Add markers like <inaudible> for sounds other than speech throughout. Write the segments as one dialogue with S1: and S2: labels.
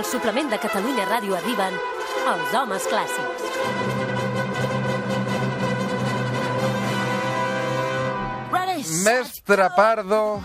S1: Al suplement de Catalunya Ràdio arriben els homes clàssics.
S2: Mestre Pardo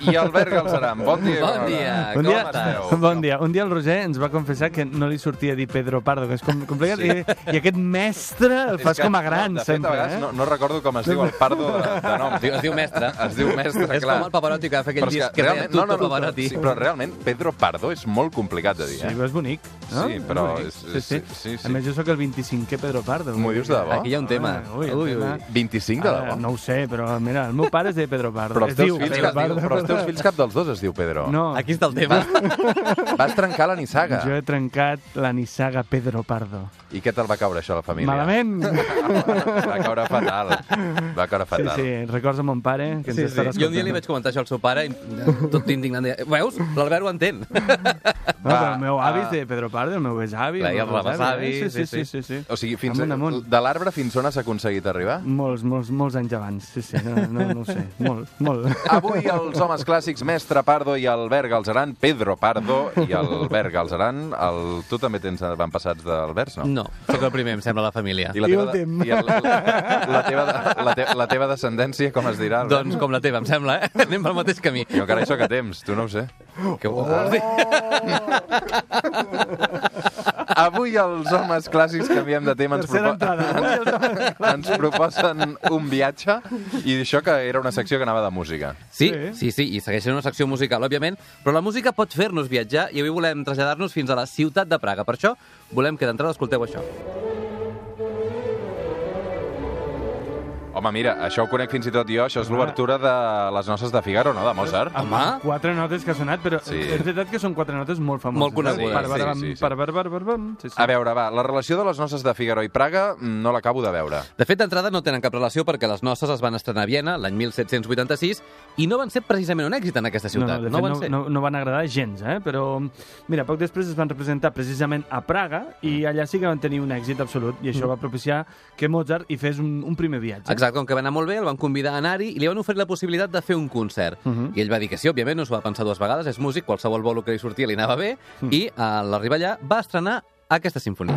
S2: i Albert Galzeran. Bon dia.
S3: Bon dia, com esteu?
S4: bon dia. Un dia el Roger ens va confessar que no li sortia dir Pedro Pardo, que és com complicat, i, i aquest mestre el
S2: És
S4: fas
S2: que,
S4: com a gran,
S2: de fet, a
S4: sempre,
S2: vegades
S4: eh?
S2: No, no recordo com es diu el Pardo de, de nom.
S3: Es diu, es diu mestre.
S2: Es diu mestre,
S3: és
S2: clar.
S3: com el Pavarotti que va fer aquell
S2: Però és
S3: disc que, feia
S2: realment-
S3: Tutto Pavarotti.
S2: sí, però realment Pedro Pardo és molt complicat de dir,
S4: Sí,
S2: eh?
S4: però és bonic, no?
S2: Sí, però
S4: bonic.
S2: és-
S4: sí, sí.
S2: sí, sí, sí.
S4: A més, jo sóc el 25è Pedro Pardo.
S2: M'ho dius de debò?
S3: Aquí hi ha un tema.
S4: Ah, ui, el tema.
S2: 25 de
S4: Ara,
S2: debò?
S4: Ah, no ho sé, però mira, el meu pare es deia Pedro Pardo.
S2: Però els,
S4: Es
S2: teus
S4: diu
S2: fills,
S4: Pedro
S2: es diu,
S4: Pardo.
S2: però els teus fills cap dels dos es diu Pedro.
S4: No,
S3: <laughs> Aquí està el tema.
S2: Vas trencar la nissaga.
S4: jo he trencat la nissaga Pedro Pardo.
S2: I què te'l va caure, això, a la família?
S4: Malament!
S2: Va caure fatal. Va caure
S4: Sí,
S2: fatal.
S4: sí, records a mon pare, que ens
S3: Sí, sí.
S4: estarà escoltant.
S3: Jo un dia li vaig comentar això al seu pare i tot indignant. deia, Veus? L'Albert ho entén.
S4: No, però el meu
S2: Va,
S4: avi
S2: ah.
S4: és de Pedro Pardo, el meu besavi.
S3: Clar, i
S4: el
S3: el
S4: meu besavi,
S3: besavi,
S4: eh? Sí,
S3: sí,
S4: sí, sí, sí.
S2: O sigui, fins
S4: Amunt, amunt.
S2: de l'arbre fins on has aconseguit arribar?
S4: Molts, molts, molts anys abans, sí, sí, no, no, no ho
S2: <laughs>
S4: sé, molt, molt.
S2: Avui els homes clàssics Mestre Pardo i Albert Galzeran, Pedro Pardo i Albert Galzeran. El... Tu també tens avantpassats d'Alberts, no?
S3: No, sóc el primer, em sembla, a la família.
S2: la
S4: I
S2: teva,
S4: últim.
S2: i el, la, la, teva, la, te, la teva descendència, com es dirà? Albert?
S3: Doncs com la teva, em sembla, eh? <laughs> Anem pel mateix camí. Oh,
S2: Jo encara això que temps, tu no ho sé.
S3: Que ho vols dir?
S2: Avui els homes clàssics canviem de tema ens,
S4: Tercera
S2: <laughs>
S4: entrada.
S2: ens proposen un viatge i això que era una secció que anava de música.
S3: Sí, sí,
S4: Sí.
S3: sí, i segueix sent una secció musical, òbviament, però la música pot fer-nos viatjar i avui volem traslladar-nos fins a la ciutat de Praga. Per això volem que d'entrada escolteu això.
S2: Home, mira, això ho conec fins i tot jo, això és l'obertura de les noces de Figaro, no?, de Mozart.
S3: Home,
S4: Quatre notes que ha sonat, però
S2: Sí.
S4: sí. és veritat que són quatre notes molt famoses. eh?
S3: Molt conegudes.
S4: Per bar,
S2: Sí, sí, sí.
S4: per bar, bar, bar, bar, sí, sí.
S2: A veure, va, la relació de les noces de Figaro i Praga mm, no l'acabo de veure.
S3: De fet, d'entrada no tenen cap relació perquè les noces es van estrenar a Viena l'any 1786 i no van ser precisament un èxit en aquesta
S4: No, no,
S3: ciutat.
S4: de
S3: van
S4: fet,
S3: ser.
S4: no, no, no van agradar gens, eh? però mira, poc després es van representar precisament a Praga i
S2: Mm.
S4: allà sí que van tenir un èxit absolut i això va propiciar que Mozart hi fes un, un primer viatge.
S3: Exacte, com que va anar molt bé, el van convidar a anar-hi i li van oferir la possibilitat de fer un concert. I ell va dir que sí, òbviament, no s'ho va pensar dues vegades, és músic, qualsevol bolo que li sortia li anava bé, i a l'arribar allà va estrenar aquesta sinfonia.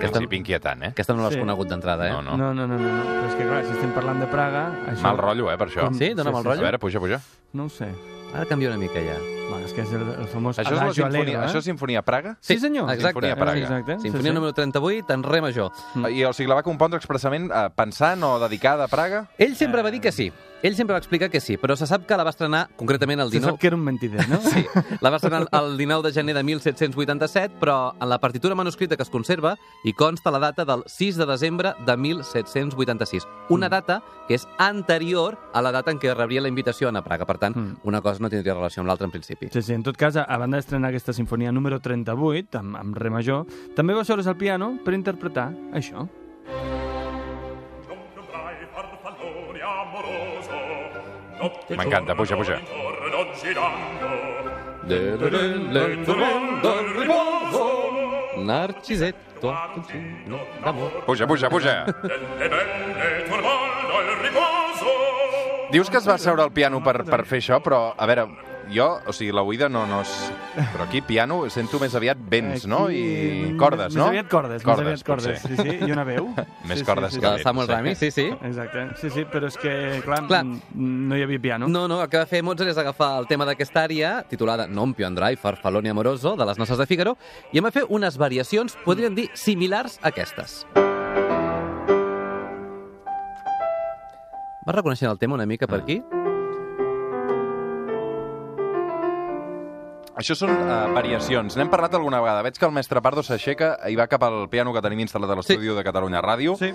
S2: Però sí, inquietant, eh?
S3: Aquesta no l'has
S4: Sí.
S3: conegut d'entrada, eh?
S2: No, no.
S4: No, no, no, no, no. Però és que clar, si estem parlant de Praga... Això...
S2: Mal rotllo, eh, per això.
S3: Sí? Dóna mal
S2: A
S3: rotllo?
S2: veure, puja, puja.
S4: No ho sé.
S3: Ara canvia una mica ja.
S4: Bueno, és que és el, el famós
S2: Això és, la
S4: Adagio
S2: sinfonia,
S4: Allegro, eh?
S2: això és Sinfonia Praga?
S4: Sí, senyor.
S3: Exacte.
S2: Sinfonia Praga.
S4: Exacte.
S3: Sinfonia
S4: sí, sí.
S3: número 38, en re major.
S2: I, o sigui, la va compondre expressament eh, pensant o dedicada a Praga?
S3: Ell sempre va dir que sí. Ell sempre va explicar que sí, però se sap que la va estrenar concretament el
S4: Se
S3: 19...
S4: sap que era un mentider, no? <laughs>
S3: Sí, la va estrenar el 19 de gener de 1787, però en la partitura manuscrita que es conserva hi consta la data del 6 de desembre de 1786, una
S4: Mm.
S3: data que és anterior a la data en què rebria la invitació a anar a Praga. Per tant,
S4: Mm.
S3: una cosa no tindria relació amb l'altra en principi.
S4: Sí, sí, en tot cas, a a banda d'estrenar aquesta sinfonia número 38, amb, amb re major, també va seure's al piano per interpretar això.
S2: M'encanta, puja, puja.
S3: Narcisetto, d'amor.
S2: Puja, puja, puja. <laughs> Dius que es va seure al piano per, per fer això, però, a veure, jo, o sigui, la oïda no, no és... Però aquí, piano, sento més aviat vents, no? I
S4: Aquí,
S2: cordes,
S4: més-
S2: no?
S4: Més aviat cordes,
S2: cordes
S4: més aviat cordes.
S2: potser.
S4: Sí, sí, i una veu.
S2: <laughs> Més
S4: sí,
S2: cordes
S4: sí, sí,
S2: que
S3: De
S2: bé,
S3: Samuel
S2: sí.
S3: Rami, sí, sí.
S4: Exacte, sí, sí, però és que, clar,
S3: Clar.
S4: n- no hi havia piano.
S3: No, no, el que va fer Mozart és agafar el tema d'aquesta àrea, titulada Non più andrai, farfallone amoroso, de les noces de Figaro, i en va fer unes variacions, podríem dir, similars a aquestes. Vas reconeixent el tema una mica per aquí?
S2: Això són uh, variacions. N'hem parlat alguna vegada. Veig que el mestre Pardo s'aixeca i va cap al piano que tenim instal·lat a l'estudi de Catalunya Ràdio.
S4: Sí.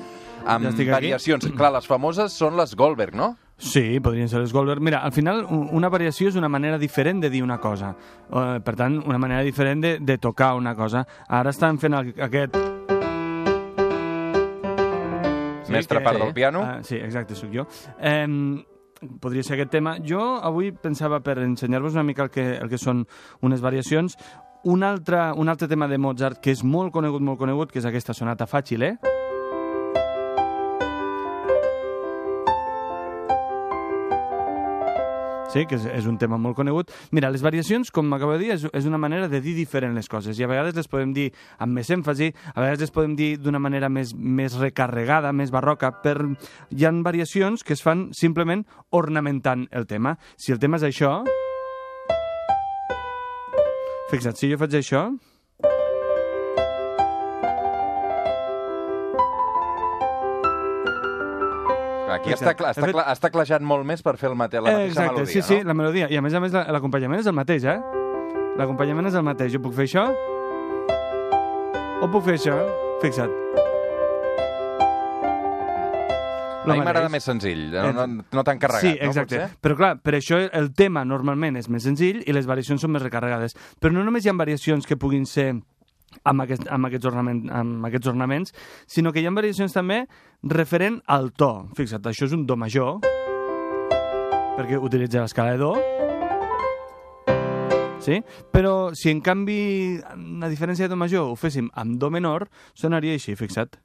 S2: Amb
S4: Ja estic aquí.
S2: variacions. Clar, les famoses són les Goldberg, no?
S4: Sí, podrien ser els Goldberg. Mira, al final u- una variació és una manera diferent de dir una cosa. Eh, per tant, una manera diferent de, de tocar una cosa. Ara estan fent el, aquest...
S2: Sí, mestre Pardo al piano.
S4: Ah, sí, exacte, sóc jo. Eh, podria ser aquest tema. Jo avui pensava, per ensenyar-vos una mica el que, el que són unes variacions, un altre, un altre tema de Mozart que és molt conegut, molt conegut, que és aquesta sonata fàcil, eh? Sí, que és, és un tema molt conegut. Mira, les variacions, com m'acabo de dir, és, és una manera de dir diferent les coses i a vegades les podem dir amb més èmfasi, a vegades les podem dir d'una manera més, més recarregada, més barroca. Per... Hi han variacions que es fan simplement ornamentant el tema. Si el tema és això... Fixa't, si jo faig això...
S2: Aquí està, cla
S4: He
S2: està,
S4: Ah, fet-
S2: cla està clajant molt més per fer el mate la mateixa
S4: Exacte,
S2: melodia,
S4: sí, sí,
S2: no?
S4: la melodia. I a més a més la- l'acompanyament és el mateix, eh? L'acompanyament és el mateix. Jo puc fer això... O puc fer això. Fixa't.
S2: A mi
S4: mateix.
S2: m'agrada més senzill, no, no, no tan carregat,
S4: Sí, exacte.
S2: no, potser?
S4: Però clar, per això el tema normalment és més senzill i les variacions són més recarregades. Però no només hi ha variacions que puguin ser amb, aquest, amb, aquests, ornament, amb aquests ornaments, sinó que hi ha variacions també referent al to. Fixa't, això és un do major, perquè utilitza l'escala de do, sí? Però si en canvi, a diferència de do major, ho féssim amb do menor, sonaria així, fixa't.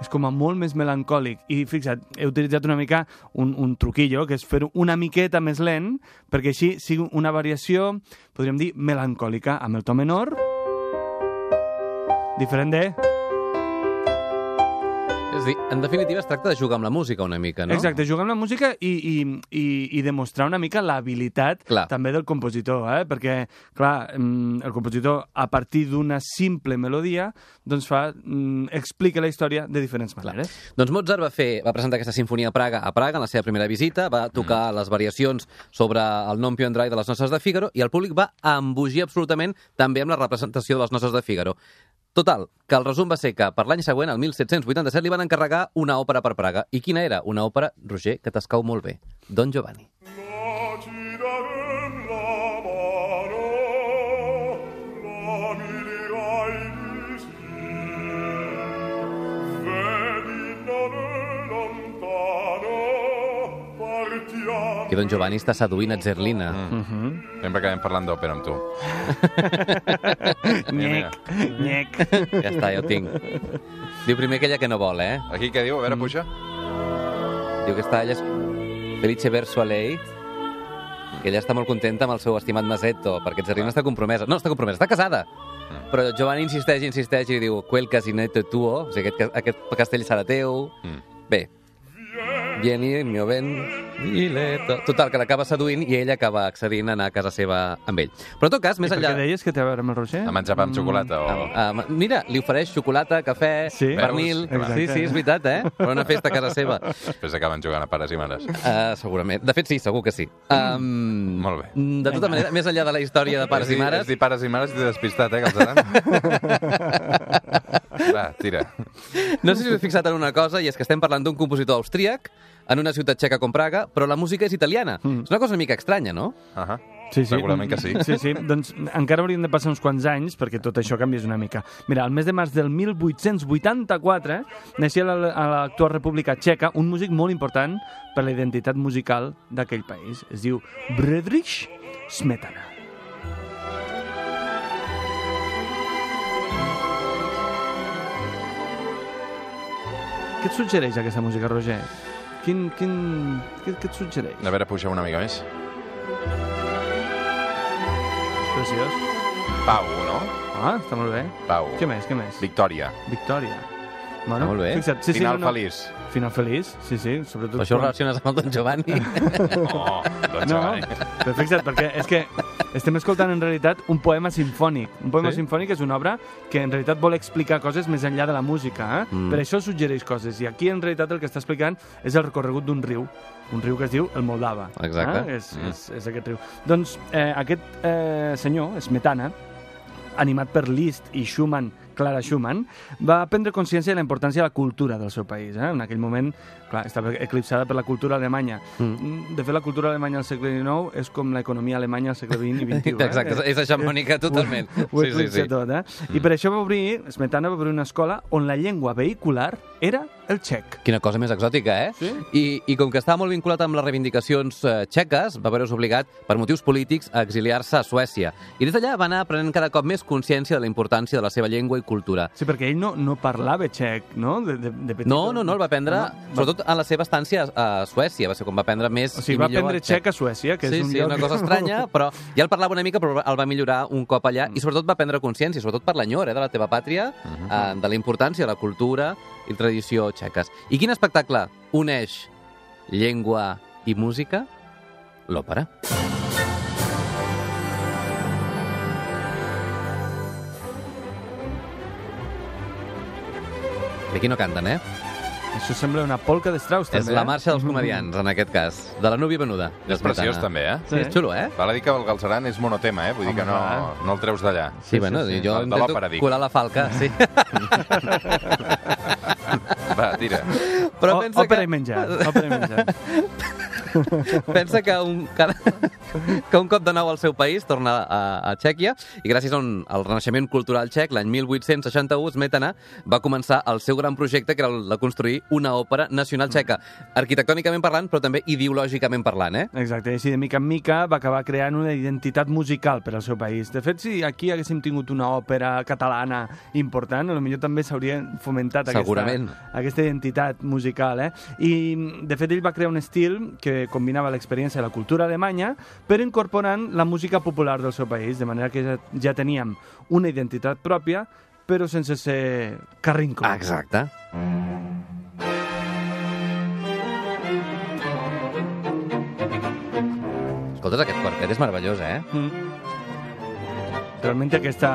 S4: és com a molt més melancòlic. I fixa't, he utilitzat una mica un, un truquillo, que és fer-ho una miqueta més lent, perquè així sigui una variació, podríem dir, melancòlica, amb el to menor, diferent de...
S3: És a dir, en definitiva es tracta de jugar amb la música una mica, no?
S4: Exacte, jugar amb la música i, i, i, i demostrar una mica l'habilitat
S3: Clar.
S4: també del compositor, eh? perquè, clar, mm, el compositor, a partir d'una simple melodia, doncs fa, mm, explica la història de diferents maneres.
S3: Doncs Mozart va, fer, va presentar aquesta sinfonia a Praga, a Praga, en la seva primera visita, va tocar les variacions sobre el Non più andrai de les noces de Figaro i el públic va embogir absolutament també amb la representació de les noces de Figaro. Total, que el resum va ser que per l'any següent, el 1787, li van encarregar una òpera per Praga. I quina era? Una òpera, Roger, que t'escau molt bé. Don Giovanni.
S5: La ti darem la mano, la mi dirai di sì. Vedi non lontano, partiamo.
S3: Que Don Giovanni està seduint a Zerlina. Mm.
S2: Sempre acabem parlant d'òpera amb tu. mira.
S4: Nyec, nyec.
S3: Ja està, ja ho tinc. Diu primer aquella que no vol, eh?
S2: Aquí què diu? A
S4: Mm.
S2: veure, puja.
S3: Diu que està ella és Felice Verso a lei, que ella està molt contenta amb el seu estimat Masetto, perquè Zerrina està compromesa. No, està compromesa, està casada. Però Giovanni insisteix, insisteix i diu quel casinetto è tuo, o sigui, aquest, aquest castell serà teu. Bé, vieni, il mio ben, dile... to- Total, que l'acaba seduint i ella acaba accedint a anar a casa seva amb ell. Però en tot cas, més
S4: Perquè
S3: enllà...
S4: deies que té a veure amb el Roger?
S2: A menjar pa amb xocolata o...
S4: Mm.
S3: Ah, ah, mira, li ofereix xocolata, cafè,
S4: Sí.
S3: pernil...
S4: Veus?
S3: Sí, sí, és veritat, eh? Per una festa a casa seva.
S4: <laughs>
S2: Després acaben jugant a pares i mares.
S4: Mm.
S3: Uh, segurament. De fet, sí, segur que sí. Um,
S2: Molt bé.
S3: De tota manera, més enllà de la història de pares
S2: Has
S3: i
S2: dit-
S3: mares,
S2: Has dit pares i mares i t'he despistat, eh,
S3: <laughs>
S2: Galzeran? Va, tira.
S3: no sé si us heu fixat en una cosa, i és que estem parlant d'un compositor austríac en una ciutat txeca com Praga, però la música és italiana. És una cosa una mica estranya, no?
S2: Uh -huh.
S4: Sí, sí.
S2: Segurament que sí.
S4: Sí, sí. Doncs encara haurien de passar uns quants anys perquè tot això canvies una mica. Mira, el mes de març del 1884 naixia a la- a l'actual República Txeca un músic molt important per la identitat musical d'aquell país. Es diu Friedrich Smetana. Què et suggereix aquesta música, Roger? Quin, quin... Què, què et suggereix?
S2: A veure, puja una mica més.
S4: Preciós.
S2: Pau, no?
S4: Ah, està molt bé.
S2: Pau.
S4: Què més, què més?
S2: Victòria.
S4: Victòria. Bueno,
S3: molt bé.
S4: Fixa't, sí,
S2: Final
S4: sí, no, no.
S2: feliç.
S4: Final feliç, sí, sí, sobretot...
S3: Però això ho
S4: quan-
S3: relaciones amb el Don Giovanni.
S2: No, doncs
S4: No,
S2: vale.
S4: però fixa't, perquè és que estem escoltant en realitat un poema sinfònic. Un poema
S3: Sí?
S4: sinfònic és una obra que en realitat vol explicar coses més enllà de la música, eh?
S3: Mm.
S4: Per això suggereix coses. I aquí en realitat el que està explicant és el recorregut d'un riu. Un riu que es diu el Moldava.
S3: Exacte. Mm.
S4: Eh? És, és, és aquest riu. Doncs eh, aquest eh, senyor, Smetana, animat per Liszt i Schumann, Clara Schumann, va prendre consciència de la importància de la cultura del seu país. Eh? En aquell moment, clar, estava eclipsada per la cultura alemanya. Mm. De fet, la cultura alemanya al segle XIX és com l'economia alemanya al segle XX i XXI.
S3: <laughs> <laughs>
S4: Eh?
S3: Exacte, és hegemònica totalment.
S4: Ho, ho
S3: Sí, sí,
S4: eclipsa
S3: sí. Mm.
S4: tot, eh? I per això va obrir, Smetana va obrir una escola on la llengua vehicular era el txec.
S3: Quina cosa més exòtica, eh? Sí. I, I com que estava molt vinculat amb les reivindicacions eh, txeques, va veure obligat, per motius polítics, a exiliar-se a Suècia. I des d'allà va anar prenent cada cop més consciència de la importància de la seva llengua i cultura.
S4: Sí, perquè ell no, no parlava txec, no? De, de, de petit.
S3: No, no, no, el va aprendre, no, sobretot a la seva estància a a Suècia, va ser quan va aprendre més
S4: O sigui,
S3: i
S4: va
S3: millor
S4: aprendre
S3: el txec.
S4: txec a Suècia, que
S3: sí,
S4: és un
S3: sí,
S4: lloc...
S3: una
S4: <laughs>
S3: cosa estranya, però ja el parlava una mica, però el va millorar un cop allà,
S4: Mm.
S3: i sobretot va prendre consciència, sobretot per l'enyor eh, de la teva pàtria,
S4: Mm-hmm.
S3: eh, de la importància de la cultura i tradició txeques. I quin espectacle uneix llengua i música? L'òpera. I aquí no canten, eh?
S4: Això sembla una polca de Strauss,
S3: És
S4: també. eh? Mm-hmm.
S3: la marxa dels comedians, en aquest cas. De la núvia venuda.
S2: És preciós, també, eh?
S3: Sí, és xulo, eh?
S2: Val a dir que el Galceran és monotema, eh? Vull dir
S4: Home,
S2: que no,
S4: clar.
S2: no el treus d'allà.
S3: Sí, bueno,
S2: sí.
S3: jo
S2: De- de l'òpera,
S3: intento
S2: dic.
S3: colar la falca,
S2: <laughs>
S3: sí.
S2: Va, tira.
S4: Però
S3: Però
S4: pensa
S3: pensa
S4: òpera
S3: que...
S4: i menjar,
S3: <laughs>
S4: òpera i menjar.
S3: Pensa que un, cada, que un cop de nou al seu país torna a, a Txèquia i gràcies a un, al renaixement cultural txec, l'any 1861, Smetana va començar el seu gran projecte, que era el de construir una òpera nacional txeca,
S2: Mm.
S3: arquitectònicament parlant, però també ideològicament parlant, eh?
S4: Exacte, i així de mica en mica va acabar creant una identitat musical per al seu país. De fet, si aquí haguéssim tingut una òpera catalana important, potser també s'hauria fomentat
S3: Segurament.
S4: aquesta, aquesta identitat musical. Eh? I, de fet, ell va crear un estil que combinava l'experiència de la cultura alemanya però incorporant la música popular del seu país, de manera que ja, ja teníem una identitat pròpia, però sense ser carrinco.
S3: Exacte. Escoltes, aquest quartet és meravellós, eh?
S4: Mm. Realment té aquesta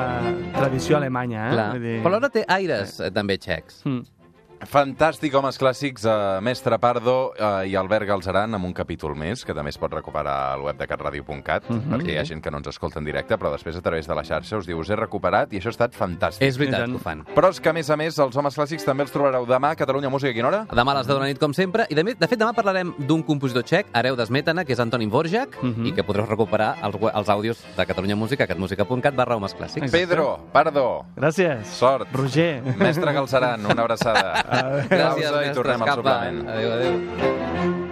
S4: tradició alemanya, eh?
S3: Clar.
S4: Vull dir-
S3: Però alhora té aires, eh, també, txecs.
S4: Mm.
S2: Fantàstic, homes clàssics, eh, Mestre Pardo eh, i Albert Galzeran, amb un capítol més, que també es pot recuperar al web de catradio.cat,
S3: Mhm.
S2: perquè hi ha gent que no ens escolta en directe, però després a través de la xarxa us diu us he recuperat i això ha estat fantàstic.
S3: És veritat
S4: tant.
S3: que ho fan.
S2: Però és que, a més a més, els homes clàssics també els trobareu demà a Catalunya Música. A quina hora?
S3: Demà a les 10 de la nit, com sempre. I, de, mi- de fet, demà parlarem d'un compositor txec, hereu d'Esmetana, que és Antonin Vorjak,
S4: Mhm.
S3: i que podreu recuperar els, we- els àudios de Catalunya Música, catmusica.cat barra homes clàssics.
S4: Exacte.
S2: Pedro, Pardo,
S4: Gràcies.
S2: sort.
S4: Roger.
S3: <laughs>
S2: Mestre Galzeran, una abraçada.
S3: Gràcies,
S2: Pausa i
S3: mestre
S2: tornem al
S3: Escapa.
S2: suplement.
S3: Adéu, adéu.